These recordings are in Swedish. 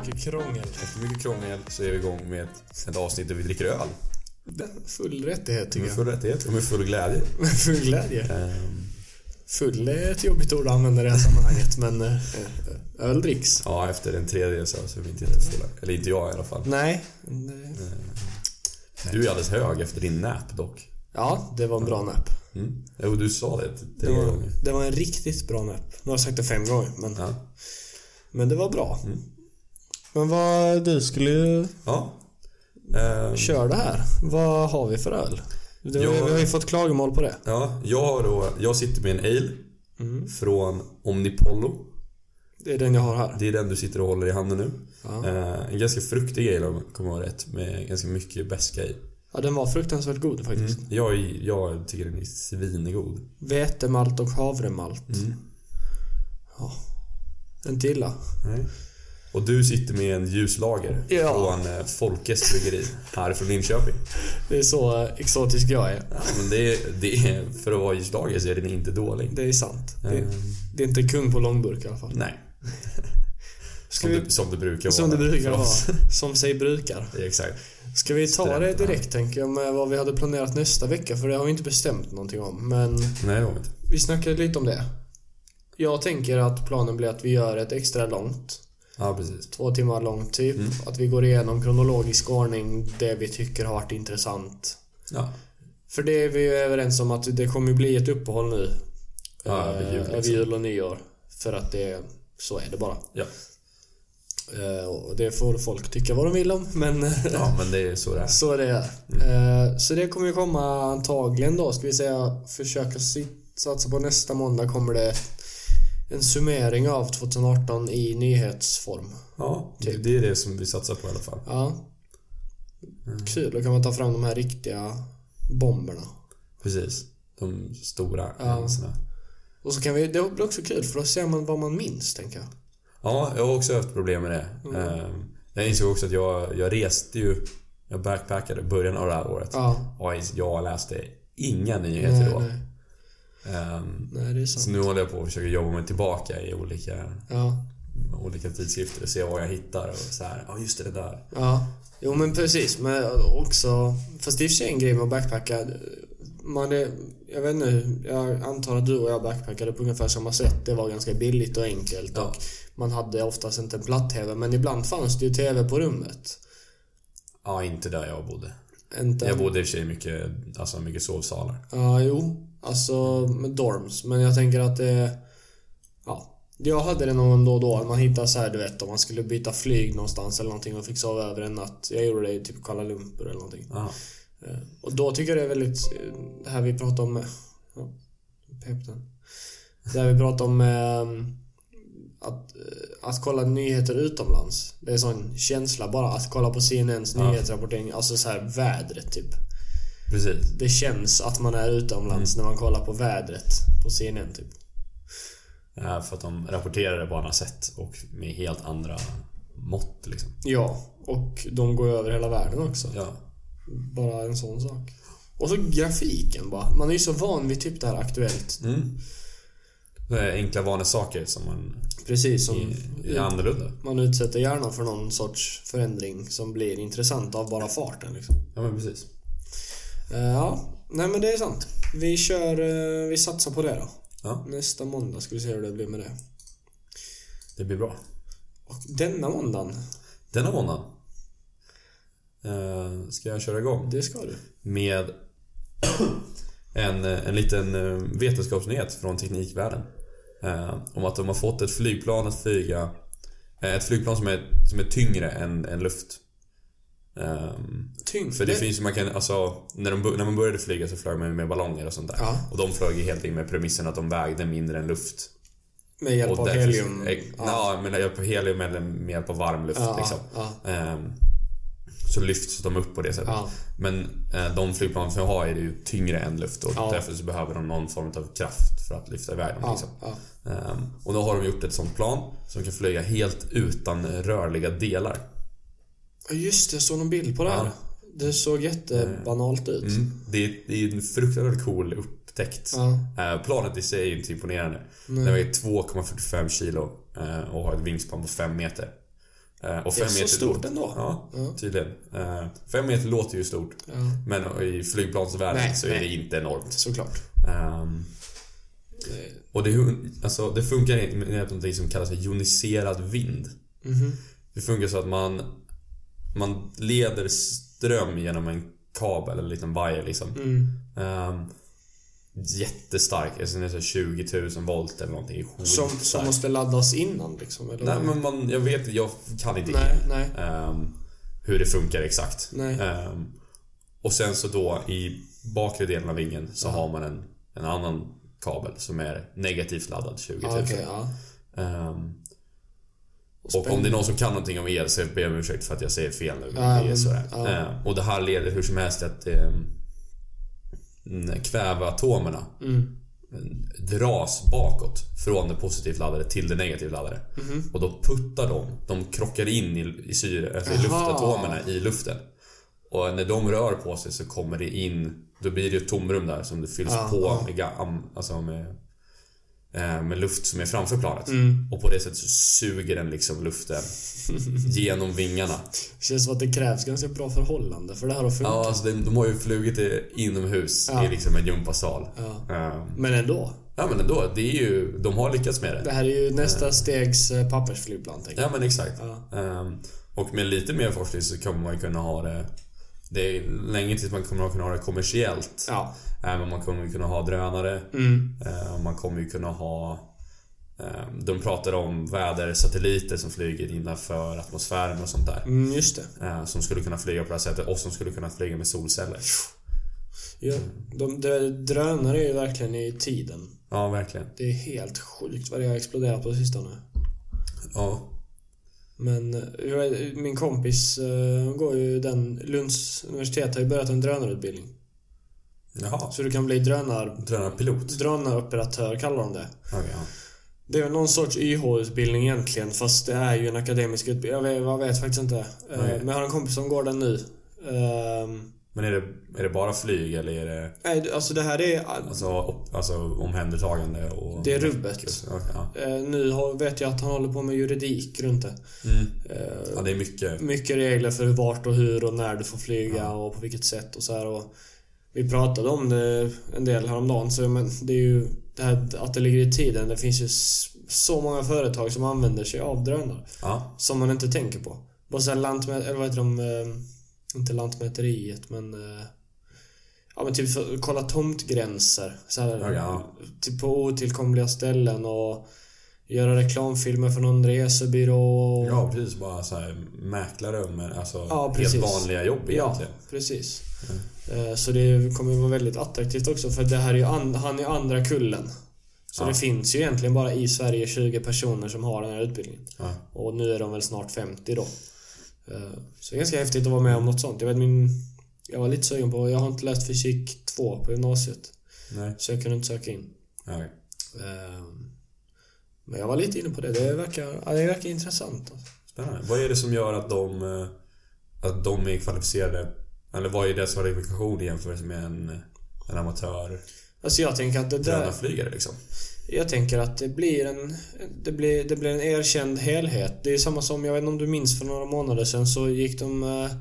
mycket krångel. Efter mycket krångel så är vi igång med ett, ett avsnitt där vi dricker öl. Det är Full rättighet tycker Med jag. full rättighet och med full glädje. Full glädje. Ehm, Full är ett jobbigt ord att använda i det här sammanhanget, men eh, eh, öl dricks. ja, efter en tredjedel så så är vi inte jättefulla. Eller inte jag i alla fall. Nej. det- Du är alldeles hög efter din nap dock. Ja, det var en bra napp. Mm. Jo, du sa det Det tre var, gånger. det var en riktigt bra napp. Nu har jag sagt det fem gånger, men, Ja. men det var bra. Men vad, du skulle ju ja. Ehm, köra det här. Vad har vi för öl? Det, Ja. Vi har ju fått klagomål på det. ja, jag har då, jag sitter med en ale från Omnipollo. Det är den jag har här. Det är den du sitter och håller i handen nu. Ja. Ehm, en ganska fruktig ale om jag kommer ihåg rätt. Med ganska mycket beska i. Ja, den var fruktansvärt god faktiskt. Jag, är- jag tycker den är svingod. Vetemalt och havremalt. Mm. Ja. Inte illa. Nej. Och du sitter med en ljuslager Ja. från eh, Folkes bryggeri här från Linköping. Det är så eh, exotisk jag är. Ja, men det, är- det, är- för att vara ljuslager så är den inte dålig. Det är sant. Eh, Det, det är inte kung på långburk i alla fall. nej, Ska som, vi, det, som det brukar som det vara. brukar för oss. vara. Som sig brukar. Det är Exakt. Ska vi ta det Studenterna. direkt tänker jag med vad vi hade planerat nästa vecka för det har vi inte bestämt någonting om. Men Nej, det har vi inte. vi snackade lite om det. Jag tänker att planen blir att vi gör ett extra långt. Ja, precis. Två timmar långt typ. Mm. Att vi går igenom kronologisk ordning det vi tycker har varit intressant. Ja, För det är vi ju överens om att det kommer ju bli ett uppehåll nu. Ja, Eh, över jul, över liksom. jul och nyår. För att det, så är det bara. ja. Eh, och det får folk tycka vad de vill om, men ja, men det är så det är. så är det är. Mm. Eh, så det kommer ju komma antagligen då, ska vi säga, försöka sit- satsa på nästa måndag kommer det en summering av 2018 i nyhetsform. Ja, det, typ. det är det som vi satsar på i alla fall. Ja. Mm. Kul, då kan man ta fram de här riktiga bomberna. Precis. De stora Ja. händelserna. Och så kan vi, det blir också kul för då ser man vad man minns, tänker jag. Ja, jag har också haft problem med det. Mm. Ehm, Jag insåg också att jag, jag reste ju, jag backpackade i början av det här året. Ja. Ja, ins- jag läste inga nyheter Nej, då. nej. Ehm, nej, det är så sant. nu håller jag på och försöker jobba mig tillbaka i olika, Ja. olika tidskrifter och se vad jag hittar. Och så här, ja just det, det där. Ja, jo men precis. Men eh, också, fast det är i och för sig en grej med att backpacka. Man är, jag vet inte, jag antar att du och jag backpackade på ungefär samma sätt. Det var ganska billigt och enkelt Ja. och man hade oftast inte en platt-TV. Men ibland fanns det ju TV på rummet. Ja, inte där jag bodde. Inte, Jag bodde i och för sig i mycket, alltså mycket sovsalar. Ja, jo. Alltså med dorms. Men jag tänker att det... Ja. Jag hade det någon då och då. Man hittar så här, du vet, om man skulle byta flyg någonstans eller någonting och fick sova över en natt. Jag gjorde det i typ Kuala Lumpur eller någonting. Ja, Eh, Och då tycker jag det är väldigt, eh, det här vi pratar om, eh, ja, pep den. Det här vi pratar om eh, att, eh, att kolla nyheter utomlands. Det är en sån känsla bara att kolla på CNNs Ja. nyhetsrapportering, alltså så här vädret typ. precis. Det känns att man är utomlands Mm. när man kollar på vädret på CNN typ. Ja, för att de rapporterade på andra sätt och med helt andra mått liksom. Ja, och de går över hela världen också. Ja, Bara en sån sak. Och så grafiken bara. Man är ju så van vid typ det här Aktuellt. Mm. Det är enkla vanesaker som man Precis som är, Mm. är annorlunda. Man utsätter hjärnan för någon sorts förändring som blir intressant av bara farten. Liksom. Ja men precis. Eh, ja, nej men det är sant. Vi kör, eh, vi satsar på det då. Ja, Nästa måndag ska vi se hur det blir med det. det blir bra. Och denna måndagen, Denna måndag eh, ska jag köra igång det ska du. med en, eh, en liten eh, vetenskapsnyhet från teknikvärlden. Eh, om att de har fått ett flygplan att flyga. eh, ett flygplan som är, som är tyngre än, än luft. Ehm, Tyngd. För det finns ju, man kan, alltså, när, de, bo- när man började flyga så flög man ju med ballonger och sånt där. Ja. Och de flög ju helt in med premissen att de vägde mindre än luft. Med hjälp och av därför- helium. Eh, Ja, men med hjälp av helium eller med hjälp av varm luft ja, liksom. ja, Ehm, så lyfts de upp på det sättet. ja, Men eh, de flygplan som vi har är ju tyngre än luft och Ja. därför så behöver de någon form av kraft för att lyfta iväg dem. ja, Liksom. ja. Ehm, och då har de gjort ett sånt plan som kan flyga helt utan rörliga delar. ja. Just det, jag såg någon bild på det här. Ja. Det såg jättebanalt ut. Mm. Det, är, det är en fruktansvärt cool upptäckt. Ja. Eh, planet i sig är ju inte imponerande. Den väger 2,45 kilo eh, och har ett vingspann på 5 meter. Eh, Och Det är fem så meter stort låter- ändå. Ja, Ja. tydligen. Eh, Fem meter låter ju stort. Ja, Men i flygplansvärlden Nej, så är nej. det inte enormt. såklart. Ehm, Det- och det, alltså, det funkar med hjälp av något som kallas för joniserad vind. Mhm. Det funkar så att man, man leder ström genom en kabel eller en liten vajer liksom. Mm. Ehm, jättestark, alltså nästan 20 000 volt eller någonting. Som, som Skitstark. måste laddas innan liksom? Eller? Nej men man, jag vet jag kan inte nej, nej. ehm, hur det funkar exakt. Nej. Ehm, och sen så då i bakre delen av vingen så har man en, en annan kabel som är negativt laddad 20 000. Ja, Ah, okej, ja. Ehm, och om det är någon som kan någonting om el så ber jag om ursäkt för att jag säger fel nu. Ja, det är Ah, men- sådär. ja. Ehm, och det här leder hur som helst till att ehm, mm, kväveatomerna Mm. dras bakåt från det positivt laddade till det negativt laddade. Mhm. Och då puttar de, de krockar in i, i, syre, alltså i Jaha. luftatomerna i luften. Och när de rör på sig så kommer det in, då blir det ett tomrum där som det fylls Ja, på ja. Med, ga- am- alltså med, eh, med luft som är framför planet. Mm. Och på det sättet så suger den liksom luften genom vingarna. Det känns som att det krävs ganska bra förhållande för det här att funka. Ja, alltså de, de har ju flugit i- inomhus Ja. i liksom en gympasal. Ja. Eh, Men ändå. Ja men ändå, det är ju, de har lyckats med det. Det här är ju nästa stegs eh, pappersflygplan, tänker jag. Ja men exakt. Ja. Ehm, och med lite mer forskning så kommer man ju kunna ha det... Det är länge tills man kommer att kunna ha det kommersiellt. Ja. Även man kommer ju kunna ha drönare. Mm. Ehm, man kommer ju kunna ha... ehm, de pratar om vädersatelliter som flyger innanför atmosfären och sånt där. Mm, just det. Ehm, som skulle kunna flyga på det här sättet och som skulle kunna flyga med solceller. Ja. De, de, drönare är ju verkligen i tiden. Ja, verkligen. Det är helt sjukt vad det har exploderat på sistone. Ja. Men eh, jag vet- min kompis eh, hon går ju den... Lunds universitet har ju börjat en drönarutbildning. Jaha. Så du kan bli drönar, Drönarpilot? drönaroperatör, kallar de det. Okej, ja. Det är väl någon sorts YH-utbildning egentligen fast det är ju en akademisk utbildning. Jag vet, jag vet faktiskt inte. Eh, Nej. Men jag har en kompis som går den nu. Ehm, Men är det, är det bara flyg eller är det Nej, det- alltså det här är... eh, alltså, op, alltså, omhändertagande? Och... Det är rubbet. Okej, ja. Eh, Nu har- vet jag att han håller på med juridik runt det. Mm. Eh, Ja, det är mycket. Mycket regler för vart och hur och när du får flyga och på vilket sätt och så här. Och vi pratade om det en del häromdagen. Så, men det är ju det här att det ligger i tiden. Det finns ju s- så många företag som använder sig av drönare. Ja. Som man inte tänker på. Bara såhär lantmät... Eller vad heter de? Eh, inte Lantmäteriet men... Eh, ja men typ för, kolla tomtgränser. Så här, Ja, ja. Typ på otillkomliga ställen och göra reklamfilmer för någon resebyrå. Och, ja, precis. Bara så här, mäklare men alltså Ja, precis. helt vanliga jobb Ja, egentligen. Mm. precis. Eh, Så det kommer ju vara väldigt attraktivt också för det här är ju an- han är andra kullen. Så Ja. det finns ju egentligen bara i Sverige 20 personer som har den här utbildningen. Ja. Och nu är de väl snart 50 då. Eh, Så det är ganska häftigt att vara med om något sånt. Jag vet min... Jag var lite sugen på... Jag har inte läst fysik 2 på gymnasiet. Nej. Så jag kunde inte söka in. Ja. Eh, Men jag var lite inne på det. Det verkar, ja, det verkar intressant. Alltså. Spännande. Vad är det som gör att de, eh, att de är kvalificerade? Eller vad är deras kvalifikation i jämförelse med en, en amatör Alltså jag tänker att det där... drönarflygare liksom? Jag tänker att det blir en, det blir, det blir en erkänd helhet. Det är samma som, jag vet inte om du minns för några månader sedan så gick de... eh,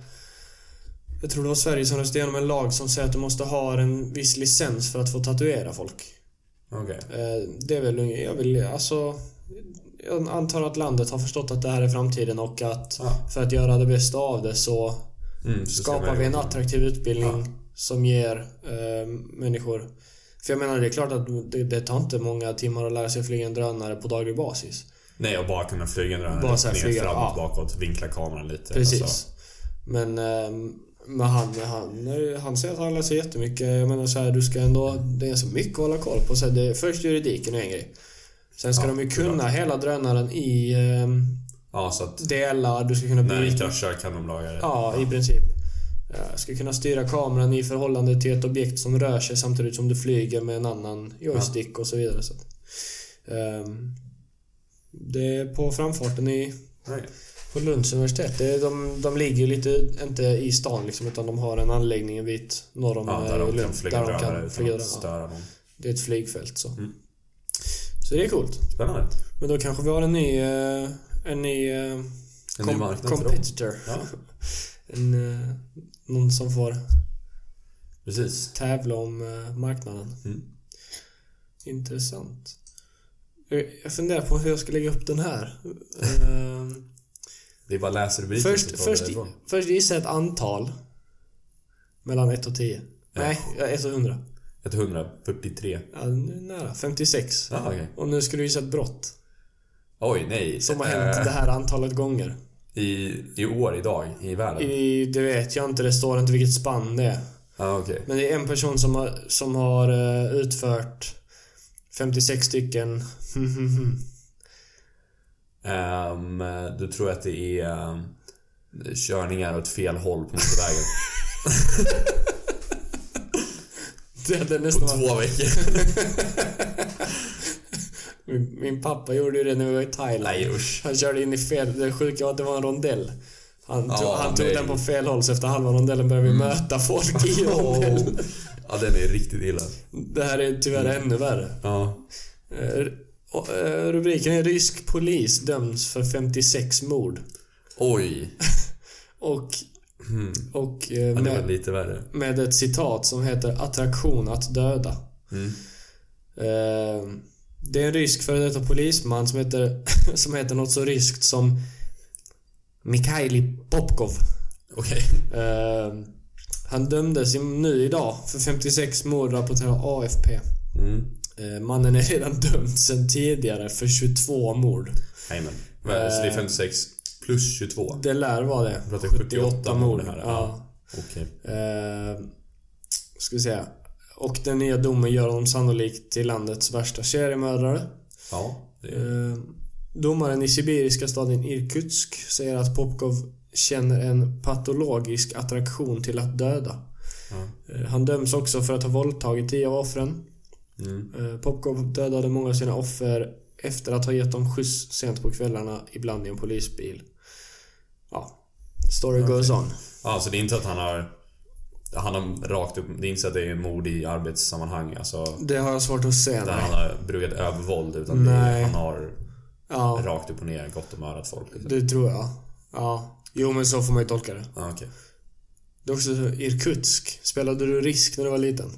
Jag tror det var Sverige som röstade igenom en lag som säger att du måste ha en viss licens för att få tatuera folk. Okej. Eh, Det är väl, unge- jag vill, alltså... Jag antar att landet har förstått att det här är framtiden och att Ja. för att göra det bästa av det så Mm, så ska skapar man- vi en attraktiv utbildning Ja. som ger eh, människor... För jag menar, det är klart att det, det tar inte många timmar att lära sig flyga en drönare på daglig basis. Nej, och bara kunna flyga en drönare. Bara så här ner, flyga, framåt, ja. bakåt, vinkla kameran lite. Precis. Alltså, Men, eh, men han, han, han säger att han läser jättemycket. Jag menar så här, du ska ändå... Det är så mycket att hålla koll på. Så här, det är först juridiken är en grej. Sen ska Ja, de ju såklart. kunna hela drönaren i eh, ja, så att delar. Du ska kunna när den byta kraschar kan de laga det. Ja, i princip. Eh, Ska kunna styra kameran i förhållande till ett objekt som rör sig samtidigt som du flyger med en annan joystick och så vidare. Så. att, ehm, det är på framfarten i, Okej. på Lunds universitet. Det är, de, de ligger ju lite, inte i stan liksom, utan de har en anläggning en bit norr om Ja, eh, där de kan Lund, flyga där de drönare kan utan flyga att drönare. störa någon. Det är ett flygfält så. Mm. Så det är coolt. Spännande. Men då kanske vi har en ny, eh, en ny eh, En ny Com- marknad för dem. competitor. Ja, En, eh, någon som får precis. tävla om eh, marknaden. Mm. Intressant. Eh, Jag funderar på hur jag ska lägga upp den här. Eh, Det är bara läser rubriken så tar först, vi först, därifrån. först gissar jag ett antal. Mellan 1 och 10. Nej, ja, 1 och 100. 143. Ja, nu är det nära. 56. Ah, okej. Och nu ska du gissa ett brott. Oj, nej. Som har hänt Eh, det här antalet gånger. I, I år, idag, i världen? I, det vet jag inte, det står inte vilket spann det är. Ja, ah, okej. Men det är en person som har, som har eh, utfört 56 stycken Ehm, du tror att det är ehm, körningar åt fel håll på motorvägen? Det hade på nästan varit- två veckor? min, min pappa gjorde ju det när vi var i Thailand. nej, usch. Han körde in i fel... Det sjuka var att det var en rondell. Han tog, Ja, han tog nej. den på fel håll så efter halva rondellen började Mm. vi möta folk i Åh. rondellen. Ja, den är riktigt illa. Det här är tyvärr ännu värre. Ja. Eh, och, eh, Rubriken är Rysk polis döms för 56 mord. Oj. Och, Mm. och eh, Ja, det var med, lite värre. med ett citat som heter Attraktion att döda. Mm. Eh, Det är en rysk före detta polisman som heter, som heter något så ryskt som Mikhaili Popkov. Okej. Eh, Han dömdes i- nu idag för 56 mord rapporterar AFP. Mm. Eh, Mannen är redan dömd sedan tidigare för 22 mord. Jajamän. Eh. Men, Så det är 56 plus 22? Det lär vara det. Jag pratar 78 mord här. Ja. Okej. Eh, ska vi säga. Och den nya domen gör honom sannolikt till landets värsta seriemördare. Ja. Det är... Eh, domaren i sibiriska staden Irkutsk säger att Popkov känner en patologisk attraktion till att döda. Ja. Eh, han döms också för att ha våldtagit tio av offren. Mm. Eh, Popkov dödade många av sina offer efter att ha gett dem skjuts sent på kvällarna, ibland i en polisbil. Ja, story goes on. Ja, så det är inte att han har... Han har rakt upp... Det är inte så att det är mord i arbetssammanhang. Alltså, Det har jag svårt att se. där nej. han har brukat övervåld. Utan det Nej. är, han har Ja, rakt upp och ner gått och mördat folk. Liksom. det tror jag. Ja. Jo, men så får man ju tolka det. Ja, okej. Det är också så- Irkutsk. Spelade du risk när du var liten?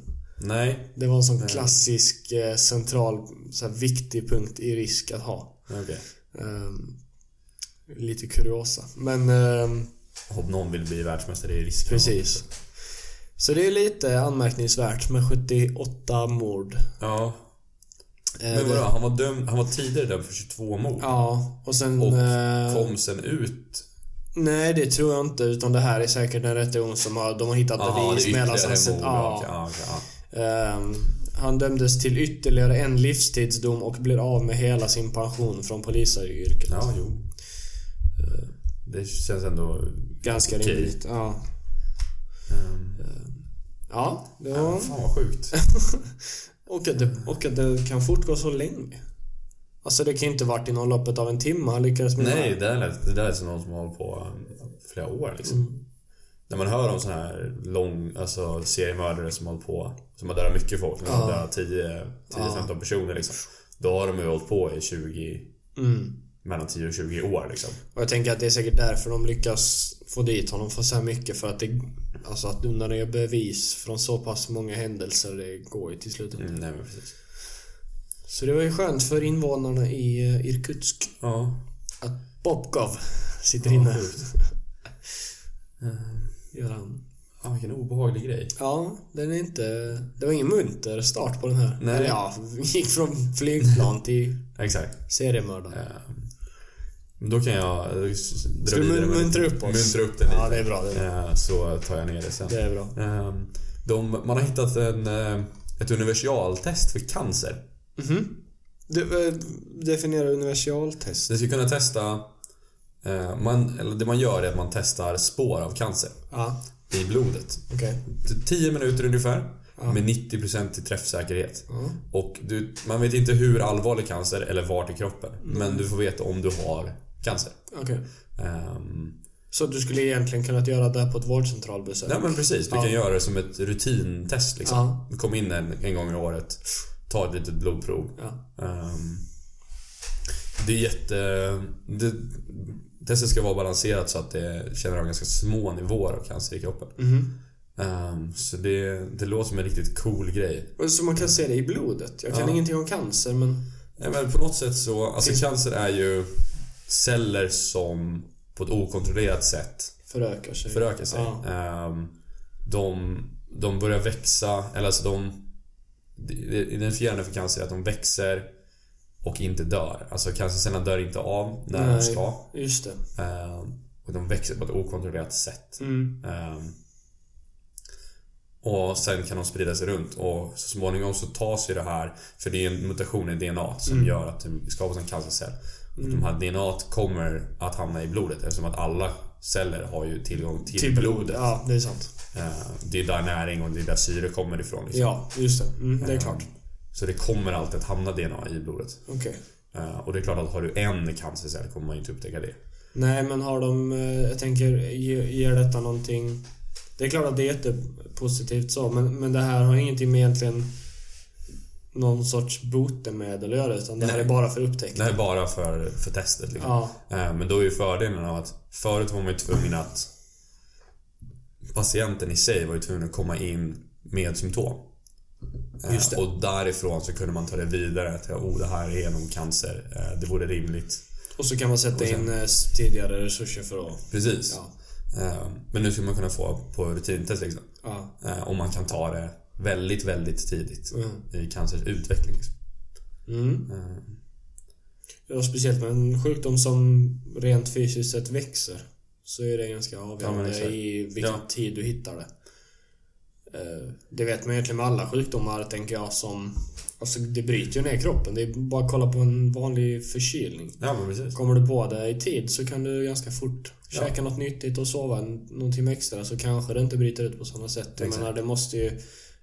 Nej. Det var en sån klassisk eh, central, så här, viktig punkt i risk att ha. Okej. Ehm, lite kuriosa. Men ehm, Hoppas någon vill bli världsmästare i risk. precis. Så det är lite anmärkningsvärt med 78 mord. Ja. Eh, Men det- vadå? Han var, dömd, han var tidigare dömd för 22 mord. Ja, och sen... Och eh, Kom sen ut. nej, det tror jag inte. Utan det här är säkert en rättegång som har, de har hittat Jaha, det är bevis medan han... ytterligare sett- mord. ja. Ja. Ja, okej, ja. Ehm, han dömdes till ytterligare en livstidsdom och blir av med hela sin pension från polisyrket. Ja, jo. Eh, Det känns ändå... Ganska Okej. rimligt. Ja. ehm, ja, det ja, var... Fan vad sjukt. och, att det, och att det kan fortgå så länge. Alltså det kan ju inte varit inom loppet av en timme han lyckades med det Nej, här. det där lät, det där lät som någon som har hållit på um, flera år liksom. Mm. När man hör om såna här lång, alltså seriemördare som har hållit på, som har dödat mycket folk, som har dödat 10-15 personer liksom. Då har de ju hållit på i 20, Mm. mellan 10 och 20 år liksom. Och jag tänker att det är säkert därför de lyckas få dit honom för så här mycket. För att det... Alltså att undanröja bevis från så pass många händelser, det går ju till slut. Mm, nej men precis. Så det var ju skönt för invånarna i eh, Irkutsk. Ja, att Popkov sitter Ja, inne. Eh, sjukt. Gör han. ah, vilken obehaglig grej. Ja, den är inte... Det var ingen munter start på den här. Nej. Eller ja, vi gick från flygplan till Exakt. seriemördare. Ehm, Då kan jag eh, s- dra Ska du vidare med- muntra upp oss? Muntra upp den Ja, lite. det är bra. Det är bra. Eh, Så tar jag ner det sen. Det är bra. Ehm, De, man har hittat en, eh, ett universaltest för cancer. Mhm. Du, eh, definiera universaltest. Det ska kunna testa... eh, Man, eller det man gör är att man testar spår av cancer Ja, i blodet. okej. T- 10 minuter ungefär Ja. med 90% i träffsäkerhet. Ja. Och du, man vet inte hur allvarlig cancer eller vart i kroppen. Mm. Men du får veta om du har cancer. Okej. Ehm, Så du skulle egentligen kunnat göra det här på ett vårdcentralbesök? Ja men precis, du kan göra det som ett rutintest liksom. Ja. Du kommer in en, en gång i året, ta ett litet blodprov. Ja. Ehm, Det är jätte... Det, testet ska vara balanserat så att det känner av ganska små nivåer av cancer i kroppen. Mhm. Ehm, så det, det låter som en riktigt cool grej. Och Så man kan se det i blodet. Jag kan Ja. ingenting om cancer men... Nej, men på något sätt så, alltså cancer är ju celler som på ett okontrollerat sätt Förökar sig. förökar sig. Ja. Ehm, de, de börjar växa, eller alltså de... det- Identifierande för cancer är att de växer och inte dör. Alltså cancercellerna dör inte av när de Nej. ska. Just det. Ehm, och de växer på ett okontrollerat sätt. Mm. Ehm, och sen kan de sprida sig runt och så småningom så tas ju det här, för det är en mutation i DNA som gör att det skapas en cancercell. Och de här DNA t kommer att hamna i blodet eftersom att alla celler har ju tillgång till, Till blod. blodet. Typ Ja, det är sant. Ehm, det är där näring och det är där syre kommer ifrån. Liksom. Ja, just det. Mm, det är klart. Ehm, Så det kommer alltid att hamna DNA i blodet. Okej. Ehm, och det är klart att har du en cancercell kommer man ju inte upptäcka det. Nej, men har de... eh, Jag tänker, ge- ger detta någonting... Det är klart att det är jättepositivt så, men, men det här har ingenting med egentligen någon sorts botemedel att göra, utan det här Nej. är bara för upptäckt. Det här är bara för, för testet. Liksom. Ja, Eh, Men då är ju fördelen av att förut var man ju tvungen att patienten i sig var ju tvungen att komma in med symptom. Eh, Just det. Och därifrån så kunde man ta det vidare till oh, det här är nog cancer. Eh, Det vore rimligt. och så kan man sätta Och sen- in eh, tidigare resurser för att... Precis. Ja. Eh, Men nu ska man kunna få på rutintest liksom. ja. Eh, Om man kan ta det väldigt, väldigt tidigt Mm. i cancers utveckling. Liksom. Mm. Eh, Ja, speciellt med en sjukdom som rent fysiskt sett växer. Så är det ganska Ja, men avgörande exakt. i vilken Ja. tid du hittar det. Eh, Det vet man egentligen med alla sjukdomar, tänker jag, som... Alltså, det bryter ju ner kroppen. Det är bara att kolla på en vanlig förkylning. Ja, men precis. Kommer du på det i tid så kan du ganska fort Ja. käka något nyttigt och sova en- någon timme extra så kanske det inte bryter ut på samma sätt. Jag Exakt. menar, det måste ju...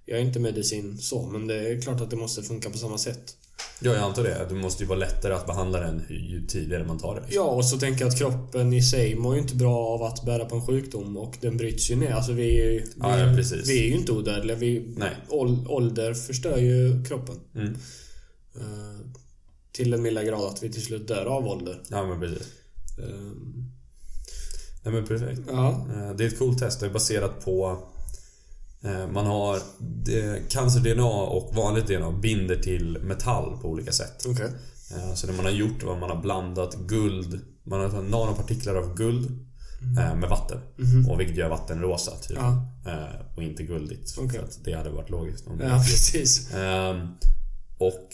Jag är inte medicin så, men det är klart att det måste funka på samma sätt. Ja, jag antar det. Det måste ju vara lättare att behandla den ju tidigare man tar det. liksom. Ja, och så tänker jag att kroppen i sig mår ju inte bra av att bära på en sjukdom och den bryts ju ner. Alltså vi är ju, vi, Ja, ja, precis. vi är ju inte odödliga. Vi, Nej. ål- ålder förstör ju kroppen. Mm. Eh, till den milda grad att vi till slut dör av ålder. Ja, men precis. Eh, Nej, men perfekt. ja. Eh, Det är ett coolt test. Det är baserat på... eh, Man har det- cancer-DNA och vanligt DNA binder till metall på olika sätt. Okej. Eh, Så det man har gjort var att man har blandat guld, man har tagit nanopartiklar av guld eh, med vatten. Och vilket gör vatten rosa typ. Mm. Mm-hmm. Ja. Eh, Och inte guldigt. Okej. För att det hade varit logiskt. Om ja, precis. Ehm, och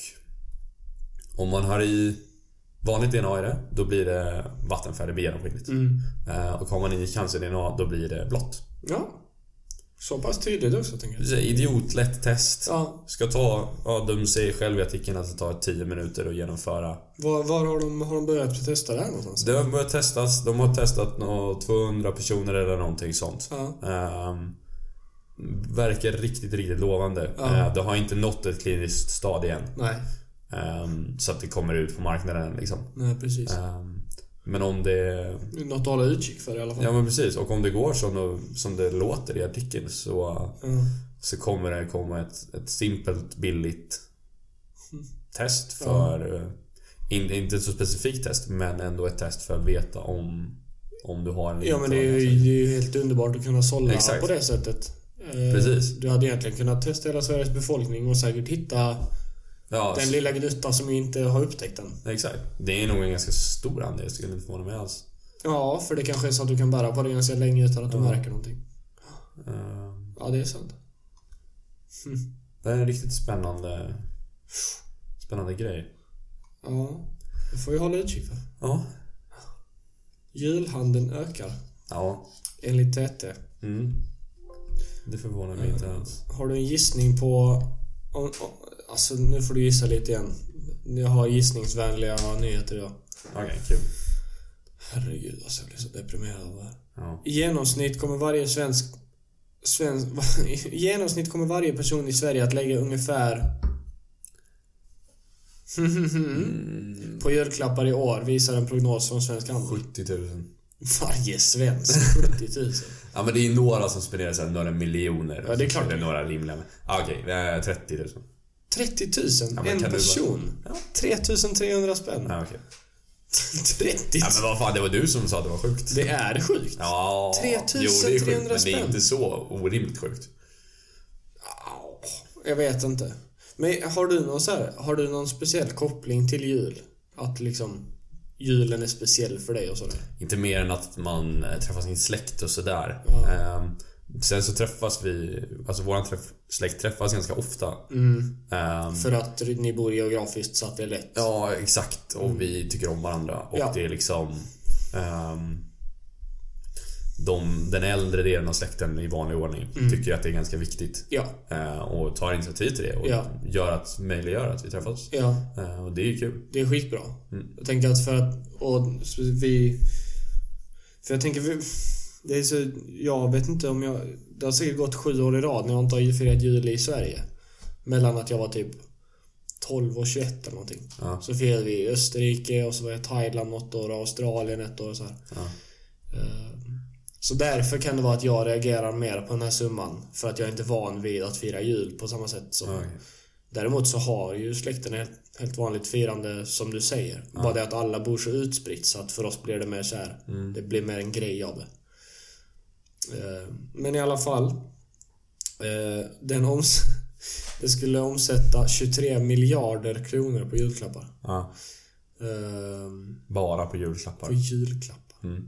om man har i vanligt DNA i det, då blir det vattenfärg, det blir genomskinligt. Mm. Eh, Och har man i cancer-DNA, då blir det blått. Ja. Så pass tydligt också, tänker jag. Precis, Idiotlätt test. Ja. Ska ta, ja de säger själv i artikeln att det tar 10 minuter att genomföra. Var, var har, de, har de börjat testa det här någonstans? Det har börjat testas, de har testat nå- 200 personer eller någonting sånt. Ja. Ehm, verkar riktigt, riktigt lovande. Ja. Eh, det har inte nått ett kliniskt stadie än. Nej. Ehm, så att det kommer ut på marknaden liksom. Nej, precis. Ehm, men om det... Något att hålla utkik för i alla fall. Ja men precis, och om det går som, som det låter i artikeln så Ja. så kommer det komma ett, ett simpelt billigt test för... eh, In, inte ett så specifikt test, men ändå ett test för att veta om, om du har en Ja men det liten är, ju, cancer. det är ju helt underbart att kunna sålla Exakt. på det sättet. Eh, Precis. Du hade egentligen kunnat testa hela Sveriges befolkning och säkert hitta Ja, den lilla gnuttan som inte har upptäckt den. exakt. Det är nog en ganska stor andel, skulle inte förvåna mig alls. Ja, för det kanske är så att du kan bära på det ganska länge utan att du Ja. märker någonting. Eh, Ja, det är sant. Det är en riktigt spännande... Spännande grej. Ja, det får vi hålla utkik för. Ja. Julhandeln ökar, Ja. enligt TT. Mm. Det förvånar mig inte alls. Har du en gissning på... Om, om, alltså, nu får du gissa lite igen. Jag har gissningsvänliga nyheter idag. Okej, kul. Herregud, alltså jag blir så deprimerad av det här. Ja. I genomsnitt kommer varje svensk... svensk I genomsnitt kommer varje person i Sverige att lägga ungefär... på julklappar i år, visar en prognos från Svensk Handel. 70 000. Varje svensk 70 000. Ja men det är några som spenderar så här, några miljoner. Ja, det är klart. Det är några rimliga. men- Ah, Okej, eh, 30 000. 30 000? men en kan du bara- person? Ja. 3 300 spänn. Ah, okej. 30 Ja, men vad fan, det var du som sa att det var sjukt. Det är sjukt. Ja, 3300 men det är spänn. inte så orimligt sjukt. Au, Jag vet inte. Men har du någon så här, har du någon speciell koppling till jul? Att liksom julen är speciell för dig och sådär? Inte mer än att man eh, träffar sin släkt och sådär. Ja. Ehm, sen så träffas vi, alltså våran träff, släkt träffas ganska ofta. Mm. Ehm, För att ni bor geografiskt så att det är lätt. ja, exakt. Och vi tycker om varandra. Och Ja. det är liksom... ehm, de, den äldre delen av släkten i vanlig ordning Mm. tycker att det är ganska viktigt. Ja. Eh, och tar initiativ till det och Ja. gör att, möjliggör att vi träffas. ja. Eh, och det är ju kul. Det är skitbra. Mm. Jag tänker att för att... Och så vi... För jag tänker... Vi, det är så, jag vet inte om jag... Det har säkert gått sju år i rad när jag inte har firat jul i Sverige. Mellan att jag var typ 12 och 21 eller någonting. Ja. Så firade vi i Österrike och så var jag i Thailand något år och Australien ett år och så här. Ja. Eh, Så därför kan det vara att jag reagerar mer på den här summan. För att jag är inte van vid att fira jul på samma sätt som... Ja, okej. Däremot så har ju släkten ett helt vanligt firande som du säger. Bara det att alla bor så utspritt så att för oss blir det mer så här. Det blir mer en grej av det. Eh, Men i alla fall. eh, Den oms det skulle omsätta 23 miljarder kronor på julklappar. Ja. Eh, Bara på julklappar. På julklappar. Mm.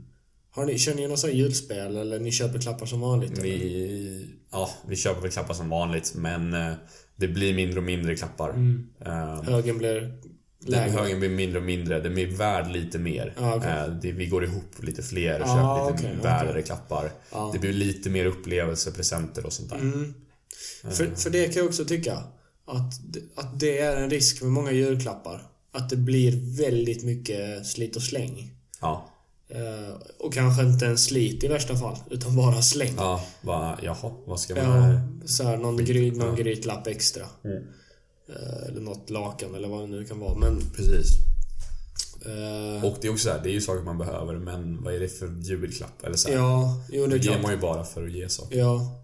Har ni, kör ni något sånt här julspel eller ni köper klappar som vanligt? eller? Vi, ja, vi köper väl klappar som vanligt men eh, det blir mindre och mindre klappar. Mm. Eh, Högen blir Den lägre. högen blir mindre och mindre, den blir värd lite mer. Ja, okej. Eh, det, vi går ihop lite fler och Ja, köper lite okej, värdare okej. klappar. Ja. Det blir lite mer upplevelser, presenter och sånt där. Mm. Eh. För, för det kan jag också tycka. Att, d- att det är en risk med många julklappar. Att det blir väldigt mycket slit och släng. Ja. Eh, och kanske inte en slit i värsta fall, utan bara släng. Ja. ja va, jaha, vad ska man... så här, någon, gry, någon grytlapp extra. Mm. Eh, eller något lakan eller vad det nu kan vara. Men, Precis. eh, Och det är också så här, det är ju saker man behöver men vad är det för julklapp? Eller så här, ja, jo det det är klart. ger man ju bara för att ge saker. Ja.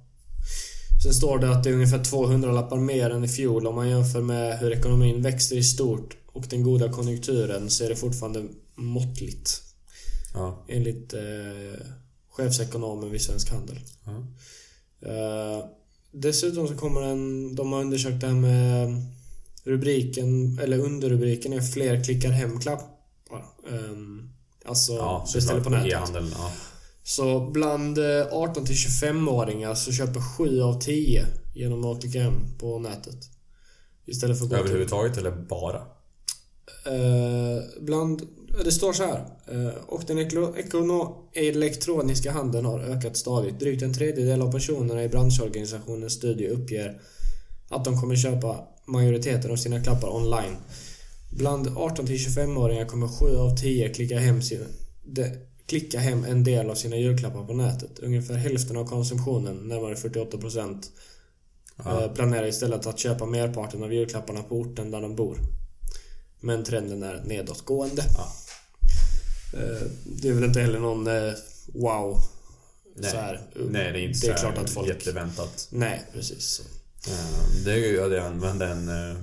Sen står det att det är ungefär 200 lappar mer än i fjol om man jämför med hur ekonomin växer i stort och den goda konjunkturen så är det fortfarande måttligt. Ja. Enligt eh, chefsekonomen vid Svensk Handel. Ja. Eh, dessutom så kommer en, de har undersökt det här med eh, rubriken, eller underrubriken är fler klickar hem klappar. Ehm, alltså Ja, beställer såklart, på nätet. E-handeln, ja. Så bland eh, 18 till 25-åringar så köper 7 av 10 genom att klicka hem på nätet. Istället för att gå till... Överhuvudtaget eller bara? Eh, bland... Det står så här. Eh, och den eklo- ekono- elektroniska handeln har ökat stadigt. Drygt en tredjedel av personerna i branschorganisationens studie uppger att de kommer köpa majoriteten av sina klappar online. Bland 18 till 25-åringar kommer 7 av 10 klicka hem, sina, de, klicka hem en del av sina julklappar på nätet. Ungefär hälften av konsumtionen, närmare 48 procent, eh, Ja. planerar istället att köpa merparten av julklapparna på orten där de bor. Men trenden är nedåtgående. Ja. Eh, Det är väl inte heller någon eh, wow. Nej. Så här. Nej, det är inte Uh, Det är så här klart att folk... jätteväntat. Nej, precis. Så. Eh, Det är ju, jag använde en eh,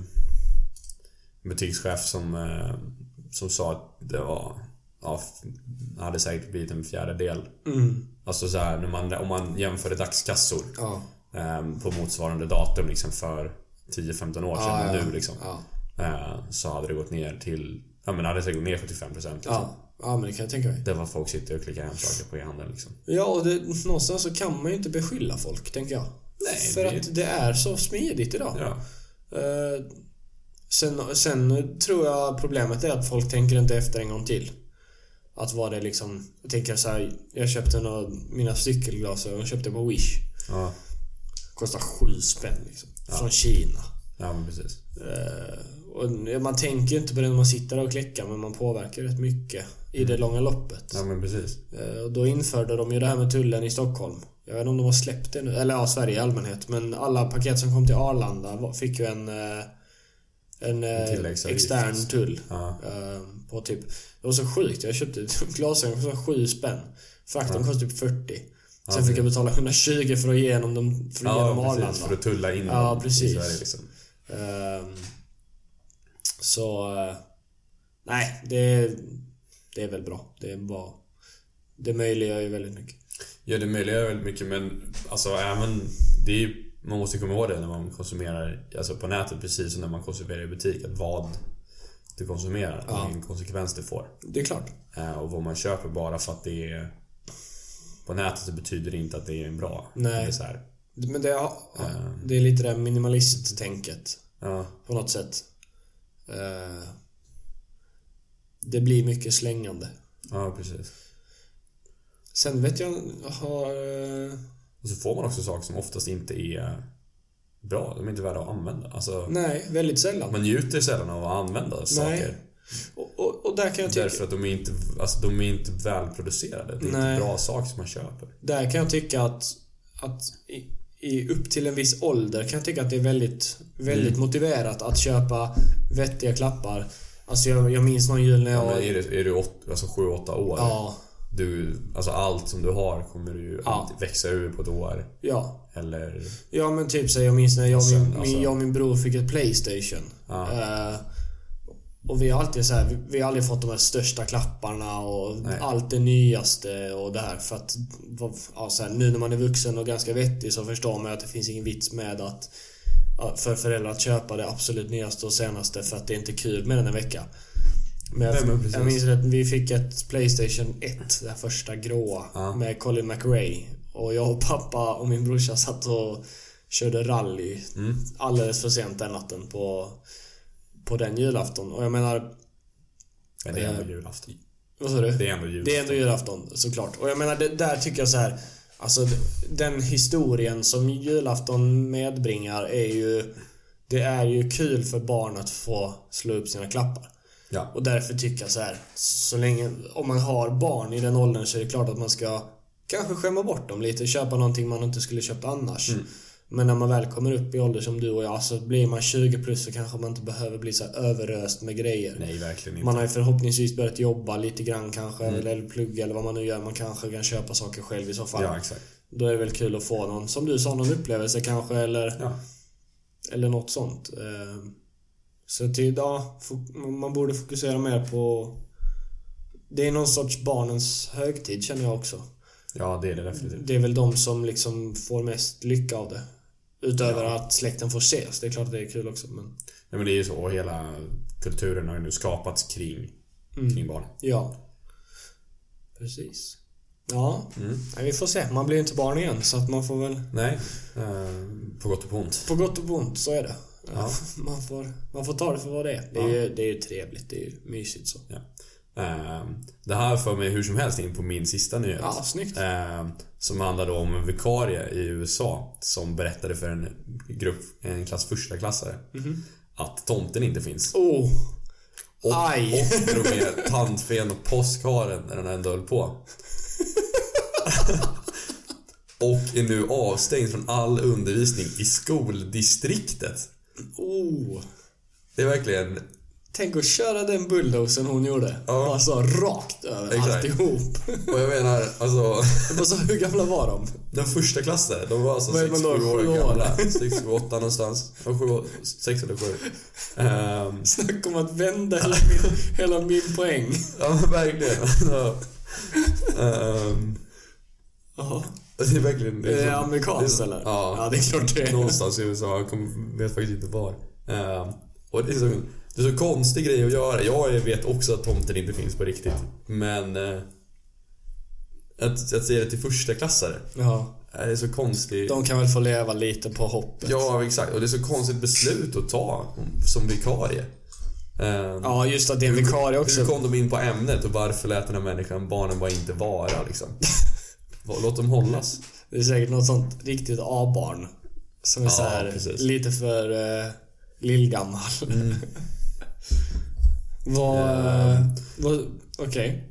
butikschef som, eh, som sa att det var... Ja, f- det hade säkert blivit en fjärdedel. Mm. Alltså så här, när man, om man jämförde dagskassor Ja. eh, på motsvarande datum liksom för 10-15 år sedan Ja, och ja, nu liksom. Ja. eh, Så hade det gått ner till... Ja men det hade säkert gått ner 75% liksom. Ja. ja, men det kan jag tänka mig. Det var folk sitter och klickar hem saker på e-handeln liksom. Ja, och det, någonstans så kan man ju inte beskylla folk, tänker jag. Nej, För det- att det är så smidigt idag. Ja. Eh, sen, sen tror jag problemet är att folk tänker inte efter en gång till. Att vad det liksom... Jag tänker så här, jag köpte några, mina cykelglasögon köpte på Wish. Ja, Kostar sju spänn liksom. Från Kina. ja men precis. Eh, och man tänker ju inte på det när man sitter där och klickar men man påverkar rätt mycket i det långa loppet. Mm. Ja men precis. Eh, Och då införde de ju det här med tullen i Stockholm. Jag vet inte om de har släppt det nu, eller ja, Sverige i allmänhet. Men alla paket som kom till Arlanda var- fick ju en, eh, en eh, tilläggsavgift. extern tull. Ja. eh, På typ, det var så sjukt, jag köpte ett glasögon för sju spänn. Frakten kostade typ 40. Sen fick jag betala 120 för att ge igenom dem för att ge dem Ja, Arlanda. precis. För att tulla in Ja, dem precis. i Sverige liksom. Ehm, Så... eh, Nej, det... det är väl bra. Det är bara... Det möjliggör ju väldigt mycket. Ja, det möjliggör väldigt mycket men alltså även... Det är ju, man måste komma ihåg det när man konsumerar alltså på nätet precis som när man konsumerar i butik. Att vad du konsumerar, Ja. vilken konsekvens det får. Det är klart. Eh, Och vad man köper bara för att det är... På nätet så betyder det inte att det är en bra. Nej. Det är så här, Men det, ja, det är lite det här minimalist-tänket. ja, På något sätt. Eh, Det blir mycket slängande. ja, precis. Sen vet jag, jag har... eh, Och så får man också saker som oftast inte är bra. De är inte värda att använda. Alltså, Nej, väldigt sällan. man njuter sällan av att använda saker. Och, och, och där kan jag tycka... Därför att de är inte, alltså, de är inte välproducerade. Det är Nej. inte bra saker som man köper. Där kan jag tycka att, att i, i upp till en viss ålder kan jag tycka att det är väldigt, väldigt Mm. motiverat att köpa vettiga klappar. Alltså jag, jag minns någon jul när jag Ja, var... men är du, är du åt, alltså 7-8 år, Ja, du, alltså allt som du har kommer du Ja. att växa ur på ett år. ja. Eller... Ja men typ så jag minns när jag och min, Sen, alltså- min, jag och min bror fick ett Playstation. Ja. Eh, och vi har alltid så här, vi, vi har aldrig fått de här största klapparna och Nej. allt det nyaste och det här. För att vad- ja, så här, nu när man är vuxen och ganska vettig så förstår man ju att det finns ingen vits med att ja, för föräldrar att köpa det absolut nyaste och senaste för att det är inte kul med den en vecka. Men jag, Nej, men precis. jag minns att vi fick ett Playstation 1, det här första gråa, Ja. med Colin McRae. Och jag och pappa och min brorsa satt och körde rally Mm. alldeles för sent den natten på, på den julafton. Och jag menar, Men det är ändå julafton. vad sa du? Det är ändå Det är julafton. ändå julafton såklart. Och jag menar, det, där tycker jag så här. Alltså den historien som julafton medbringar är ju... Det är ju kul för barn att få slå upp sina klappar. Ja. Och därför tycker jag så här. Så länge, om man har barn i den åldern så är det klart att man ska kanske skämma bort dem lite. Köpa någonting man inte skulle köpt annars. Mm. Men när man väl kommer upp i ålder som du och jag så blir man 20 plus så kanske man inte behöver bli så här överöst med grejer. Nej, verkligen inte. Man har ju förhoppningsvis börjat jobba lite grann kanske, Mm. eller plugga eller vad man nu gör. Man kanske kan köpa saker själv i så fall. Ja, exakt. Då är det väl kul att få någon, som du sa, någon upplevelse kanske eller, Ja. eller något sånt. Eh, Så till idag, fo- man borde fokusera mer på... Det är någon sorts barnens högtid känner jag också. ja, det är det definitivt. Det är väl de som liksom får mest lycka av det. Utöver att släkten får ses. Det är klart att det är kul också men... Nej, men det är ju så. Och hela kulturen har ju nu skapats kring, Mm. kring barn. Ja. Precis. Ja, Mm. Nej, vi får se. Man blir ju inte barn igen så att man får väl... Nej, eh, på gott och på ont. På gott och på ont, så är det. Ja. Man, får, man får ta det för vad det är. Det är, Ja. ju, det är ju trevligt, det är ju mysigt så. Ja. Eh, det här för mig hur som helst in på min sista nyhet. Ja, snyggt. Eh, som handlade om en vikarie i USA som berättade för en grupp, en klass första klassare Mhm. att tomten inte finns. Oh! Och, Aj. och drog med tandfen och påskharen när den ändå höll på. och är nu avstängd från all undervisning i skoldistriktet. Oh! Det är verkligen... Tänk att köra den bulldozen hon gjorde. Ja. Bara så rakt över Exakt. alltihop. Och jag menar, alltså... Bara så, hur gamla var de? Den första klassen, de var alltså Vad är man då, 6-7 år sju år? gamla. 6-7, 8 någonstans. 6 eller 7. Um, Snacka om att vända hela min, hela min poäng. ja men verkligen. Alltså, ehm, Jaha. det är verkligen... Är det så- amerikanskt det är- eller? ja, Ja, det är klart det är. någonstans i USA. Jag kommer- vet faktiskt inte var. Ehm, och det är, så, det är så konstig grej att göra. Jag vet också att tomten inte finns på riktigt. Men... eh, att, att säga det till första klassare Ja. eh, det är så konstigt. De kan väl få leva lite på hoppet. Ja, exakt. Och det är så konstigt beslut att ta som vikarie. Ehm, Ja, just att det är en vikarie Hur också. kom de in på ämnet och varför lät den här människan barnen bara inte vara liksom? Låt dem hållas. Det är säkert något sånt riktigt A-barn. Som är Ja, så här precis. Mm. lite för uh, lillgammal. vad... Ehm. vad Okej.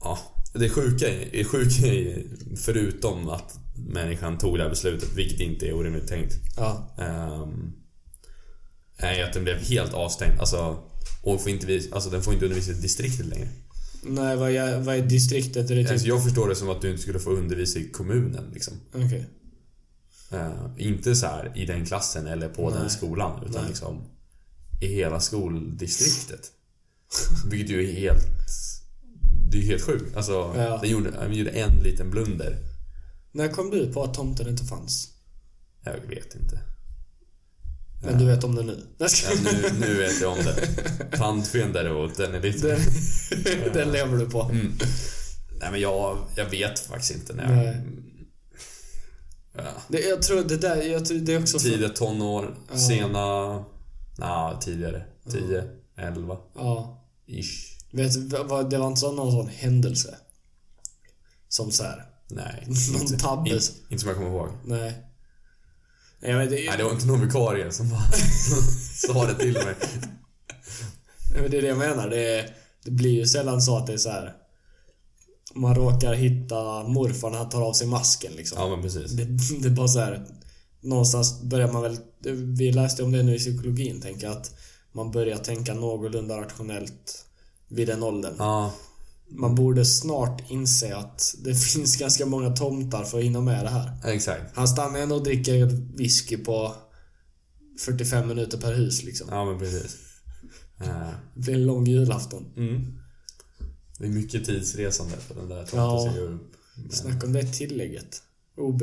Ja, det sjuka, är- det sjuka är förutom att människan tog det här beslutet, vilket inte är orimligt tänkt. Ja. ehm, är att den blev helt avstängd. Alltså, och får inte, vis- alltså den får inte undervisa i distriktet längre. Nej, vad är, vad är distriktet? Är det typ... Alltså, jag förstår det som att du inte skulle få undervisa i kommunen liksom. Okej. Eh, inte så här i den klassen eller på Nej. den skolan utan Nej. liksom i hela skoldistriktet. Vilket ju är helt... Det är ju helt sjukt. Alltså, Ja. den, gjorde, den gjorde en liten blunder. När kom du på att tomten inte fanns? Jag vet inte. Men Ja. du vet om det nu? Nej, ska- Ja, nu, nu vet jag om det. Tandfen däremot, den är lite... Den, den lever du på. Mm. Nej men jag, jag vet faktiskt inte när jag... Nej. Ja. Det, jag tror det där, jag tror det är också... Tidiga tonår, Ja. sena... Nja, tidigare. 10, 11 Ja. ish. Vet du, vad- det var inte så någon sån händelse. Som så här. Nej. Någon tabbe. Inte, inte som jag kommer ihåg. Nej. Nej, Jag vet, det, Nej, det var inte någon vikarie som bara sa det till mig. Nej, men det är det jag menar. Det, är- det blir ju sällan så att det är så här. Man råkar hitta morfar när han tar av sig masken liksom. Ja, men precis. Det, det är bara så här. Någonstans börjar man väl... Vi läste om det nu i psykologin, tänker jag. Att man börjar tänka någorlunda rationellt vid den åldern. Ja, Man borde snart inse att det finns ganska många tomtar för att hinna med det här. exakt. Han stannar ändå och dricker whisky på 45 minuter per hus liksom. Ja, men precis. Eh, Det blir en lång julafton. Mm. Det är mycket tidsresande på den där tomten Ja. som gör upp. Snacka om det tillägget. OB.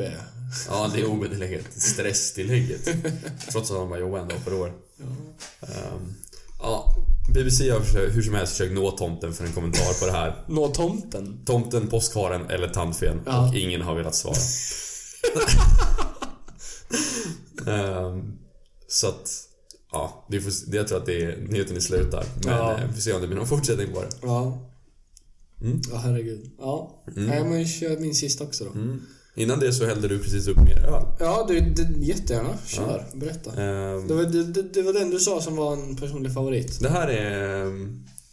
Ja, det är ob-tillägget. Stresstillägget. Trots att han bara jobbar en dag per år. Ehm, ja, BBC har försökt, hur som helst försökt nå tomten för en kommentar på det här. Nå tomten. Tomten, påskharen eller tandfen. Ja. Och ingen har velat svara. Ehm, så att... Ja, vi får, det- jag tror att det är nyheten är slut där. Men Ja. eh, vi får se om det blir någon fortsättning på det. Ja. Mm. Ja, herregud. Ja. Nej, men kör min sista också då. Mm. Innan det så hällde du precis upp mer öl. Ja, du, du, jättegärna. Kör. Berätta. Ehm, Det var, det, det, det var den du sa som var en personlig favorit. Det här är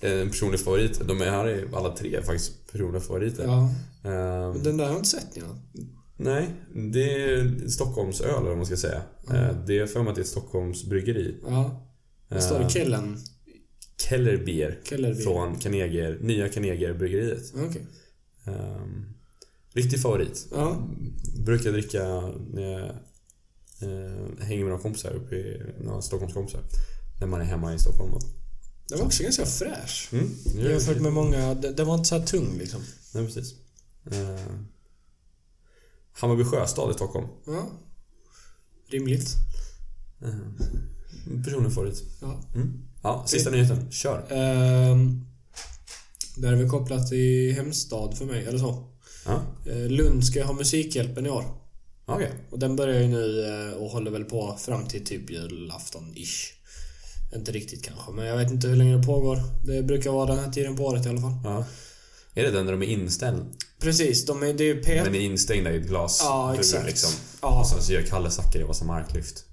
eh, en personlig favorit. De är här är alla tre faktiskt personliga favoriter. Ja. Eh, Den där har jag inte sett innan. nej, det är Stockholmsöl eller vad man ska säga. Mm. Eh, det är för mig att det är ett Stockholms bryggeri. Ja. Det står Eh, det Kellen. Kellerbier Kellerbier. från Carnegie, nya Carnegie-bryggeriet. Okej. Eh, riktig favorit. Ja. Brukar dricka när jag eh, hänger med några kompisar uppe i, några Stockholmskompisar. När man är hemma i Stockholm. då. Den var också ganska fräsch. Mm, det är- Jämfört med många. Den den var inte så här tung liksom. Nej, precis. Eh, Hammarby Sjöstad i Stockholm. Ja. Rimligt. Eh, personen förut. Ja. Mm. Ja, sista nyheten. Kör. Ehm, där är vi kopplat till hemstad för mig, eller så. Ja, Eh, Lund ska ju ha Musikhjälpen i år. okej. Och den börjar ju nu eh, och håller väl på fram till typ julafton-ish. Inte riktigt kanske, men jag vet inte hur länge det pågår. Det brukar vara den här tiden på året i alla fall. Ja. Är det den där de är inställda? Precis, de är, det är ju P... Men är instängda i ett glas? ja, huvud, exakt. Liksom. Och Ja, sen så gör Kalle Zackari som marklyft.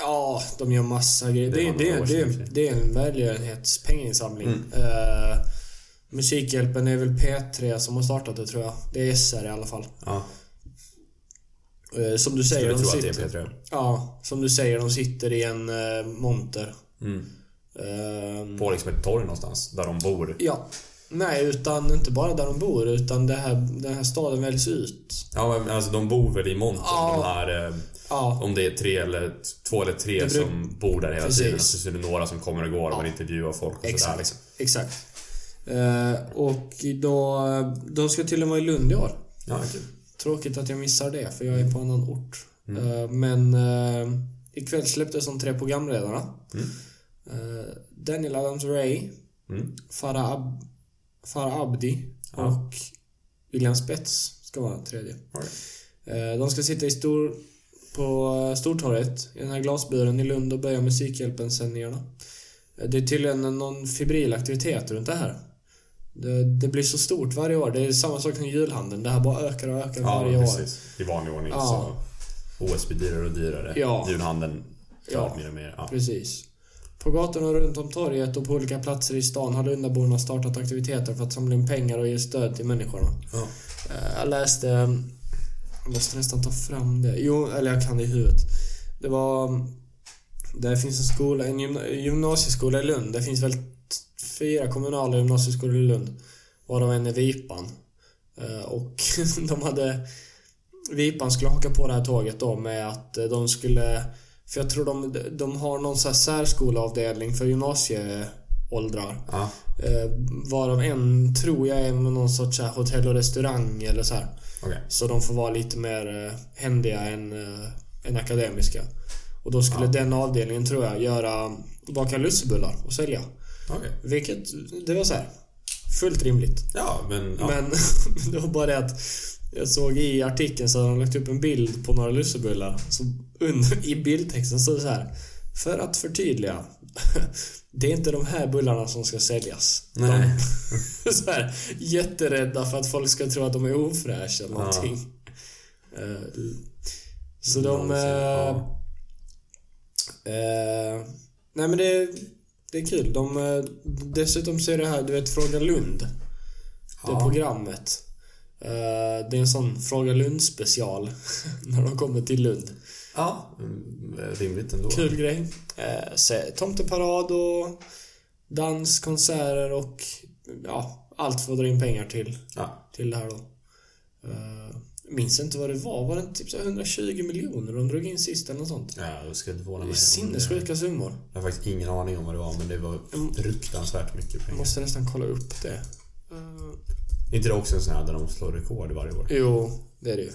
ja, de gör massa grejer. Det Det, var det, några år det, sedan i och det, för sig. är en välgörenhetspenginsamling. Mm. Eh, Musikhjälpen är väl P3 som har startat det tror jag. Det är SR i alla fall. Ja, Eh, som du säger, jag de tror att det sitter, är Petra. ja, som du säger, de sitter i en eh, monter. Mm. Ehm, På liksom ett torg någonstans, där de bor. ja. Nej, utan inte bara där de bor, utan det här, den här staden väljs ut. Ja, men alltså de bor väl i montern, Ja. de här... Eh, Ja, om det är tre eller två eller tre Det bruk- som bor där hela Precis. tiden. Så så är det några som kommer och går och intervjuar folk och sådär exakt. liksom. exakt. Eh, och då, de ska till och med i Lund i år. Ja, kul. Tråkigt att jag missar det, för jag är på annan ort. Mm. Eh, men eh, ikväll släpptes de tre programledarna. Mm. Eh, Daniel Adams-Ray, Mm. Farah, Ab- Farah Abdi Ja. och William Spets ska vara tredje. Okej. Eh, De ska sitta i stor, på eh, Stortorget i den här glasbyrån i Lund och börja Musikhjälpen-sändningarna. Eh, Det är tydligen en- någon febril aktivitet runt det här. Det, det blir så stort varje år. Det är samma sak som julhandeln. Det här bara ökar och ökar Ja, varje år. precis. I vanlig ordning Ja. så OS blir dyrare och dyrare. Ja. Julhandeln klart Ja. mer och mer. Ja. Precis. På gatorna runt om torget och på olika platser i stan har Lundaborna startat aktiviteter för att samla in pengar och ge stöd till människorna. Ja. Eh, Jag läste... Jag måste nästan ta fram det. Jo, eller jag kan det i huvudet. Det var... Det finns en skola, en gymna, gymnasieskola i Lund. Det finns väl t- fyra kommunala gymnasieskolor i Lund. Varav en är Vipan. Eh, Och de hade... Vipan skulle haka på det här tåget då med att eh, de skulle... För jag tror de, de har någon så här särskoleavdelning för gymnasieåldern åldrar. Ja. Eh, varav en tror jag är med någon sorts så här hotell och restaurang eller så här. Okej. Så de får vara lite mer eh, händiga än, eh, än akademiska. Och då skulle Ja. den avdelningen tror jag göra baka lussebullar och sälja. Okej. Vilket, det var så här fullt rimligt. Ja, men... Ja. Men det var bara det att jag såg i artikeln så hade de lagt upp en bild på några lussebullar. Så under, I bildtexten stod det så här. För att förtydliga. Det är inte de här bullarna som ska säljas. Nej. De, så här, jätterädda för att folk ska tro att de är ofräscha eller Ja. någonting. Eh, Så de... Nonsens. eh, Ja. Eh, nej men det, det är kul. De, eh, dessutom så är det här, du vet Fråga Lund. Det Ja. programmet. Eh, det är en sån Fråga Lund special. när de kommer till Lund. ja. Mm, Rimligt ändå. Kul grej. Eh, se- tomteparad och dans, konserter och ja, allt för att dra in pengar till, Ja. till det här då. Eh, minns inte vad det var. Var det inte typ så här 120 miljoner de drog in sist eller något sånt? ja, jag skulle inte Det förvåna är mig. om sinnessjuka summor. Jag har faktiskt ingen aning om vad det var, men det var fruktansvärt mycket Jag pengar. Mm. måste nästan kolla upp det. Eh, Är inte det också en sån här där de slår rekord varje år? Jo, det är det ju.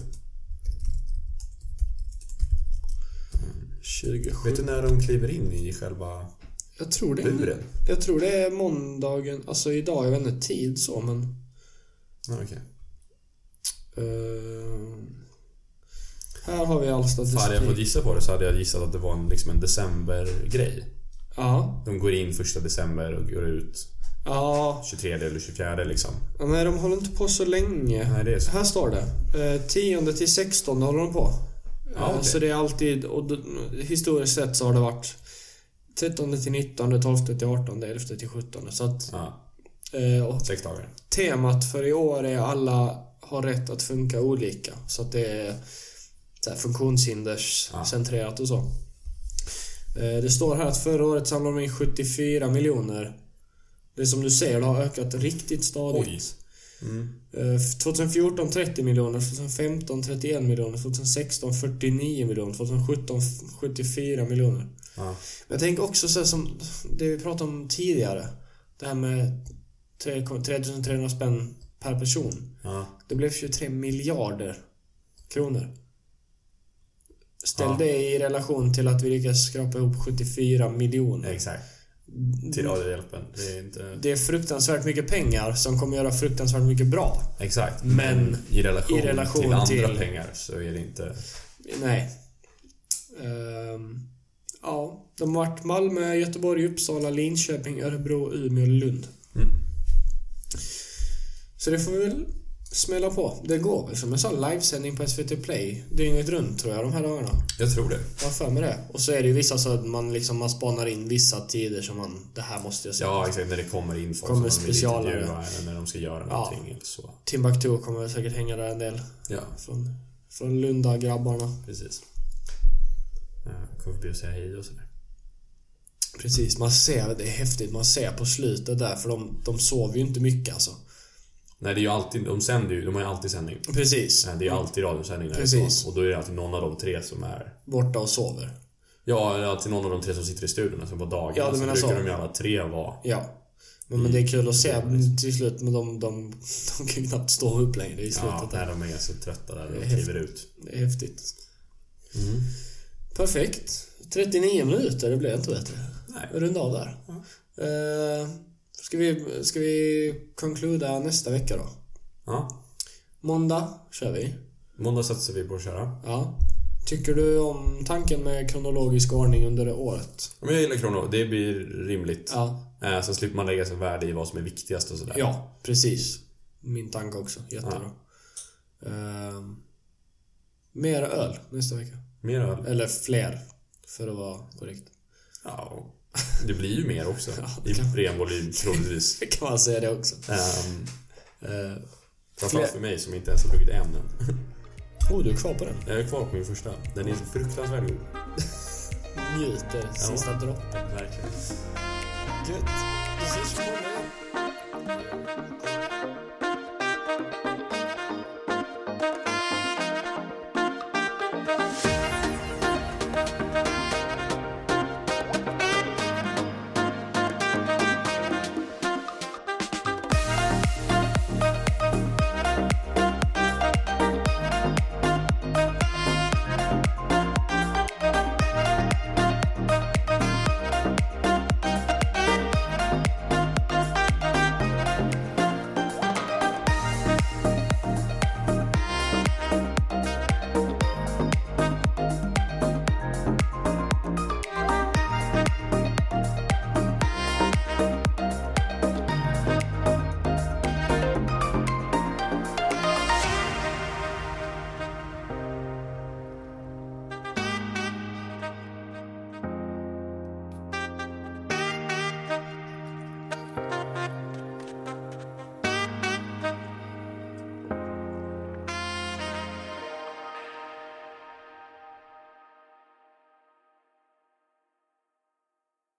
27. Vet du när de kliver in i själva Jag tror det är, buren? jag tror det är måndagen, alltså idag, jag vet inte tid så men... Ja, Okej. eh, här har vi all Hade jag fått statistik. gissa på det så hade jag gissat att det var en, liksom en decembergrej. Ja. De går in första december och går ut Ja. 23 eller 24 liksom. Nej, de håller inte på så länge. Nej, det är så. Här står det. Eh, 10 till 16 håller de på. Ja, Eh, okej. Så det är alltid, och d- historiskt sett så har det varit 13 till 19, 12 till 18, 11 till 17. Så att, Ja, eh, och sex dagar. Temat för i år är alla har rätt att funka olika. Så att det är så här funktionshinderscentrerat och så. Eh, Det står här att förra året samlade de in 74 miljoner. Det är som du säger, det har ökat riktigt stadigt. Mm. Eh, 2014 30 miljoner, 2015 31 miljoner, 2016 49 miljoner, 2017 74 miljoner. Ja. Men jag tänker också så här som det vi pratade om tidigare. Det här med 3 3300 spänn per person. Ja. Det blev 23 miljarder kronor. Ställ Ja. det i relation till att vi lyckas skrapa ihop 74 miljoner. Exakt. Mm. Till Radiohjälpen. Det är inte... Det är fruktansvärt mycket pengar som kommer göra fruktansvärt mycket bra. Exakt. Men i relation, i relation till andra till- pengar så är det inte... Nej. Ehm, ja, de har varit Malmö, Göteborg, Uppsala, Linköping, Örebro, Umeå, Lund. Mm. Så det får vi väl smälla på. Det går väl som jag sa, livesändning på SVT Play dygnet runt tror jag de här dagarna. Jag tror det. Jag har för mig det. Och så är det ju vissa så att man liksom man spanar in vissa tider som man, det här måste jag se. Ja, exakt. När det kommer in folk Liksom. Kommer som de vill specialare. intervjua eller när de ska göra Ja. någonting eller så. Timbuktu kommer säkert hänga där en del. Ja, Från, från Lunda-grabbarna. precis. Jag kommer förbi och säga hej och sådär. Precis, man ser, det är häftigt, man ser på slutet där för de, de sover ju inte mycket alltså. Nej, det är ju alltid... De sänder ju... De har ju alltid sändning. Precis. Nej, Det är ju alltid radiosändning Mm. Precis. därifrån. Och då är det alltid någon av de tre som är... Borta och sover. Ja, det är alltid någon av de tre som sitter i studion. Alltså på dagarna Ja, du så menar brukar så. de ju alla tre vara... Ja. Men, men det är Mm. kul att se till slut, men de, de, de kan ju knappt stå upp längre i slutet Ja, där. när de är så trötta där Det och är kliver ut. Det är häftigt. Mm. Perfekt. 39 minuter, det blev inte bättre. Nej. Runda av där. Ja. Eh, ska, vi, ska vi konkluda nästa vecka då? Ja. Måndag kör vi. Måndag satsar vi på att köra. Ja. Tycker du om tanken med kronologisk ordning under det året? Men jag gillar krono. Det blir rimligt. Ja. Eh, Sen slipper man lägga sig värde i vad som är viktigast och sådär. Ja, precis. Min tanke också. Jättebra. Eh, mer öl nästa vecka. Mer öl. Eller fler, för att vara korrekt. Ja. och Det blir ju mer också. I kan- ren volym troligtvis. Kan man säga det också. Ehm, Eh, Framförallt Fler- för mig som inte ens har druckit en än. oh, du är kvar på den. Jag är kvar på min första. Den är fruktansvärt god. Njuter sista droppen. Verkligen. Gött. Vi ses på måndag.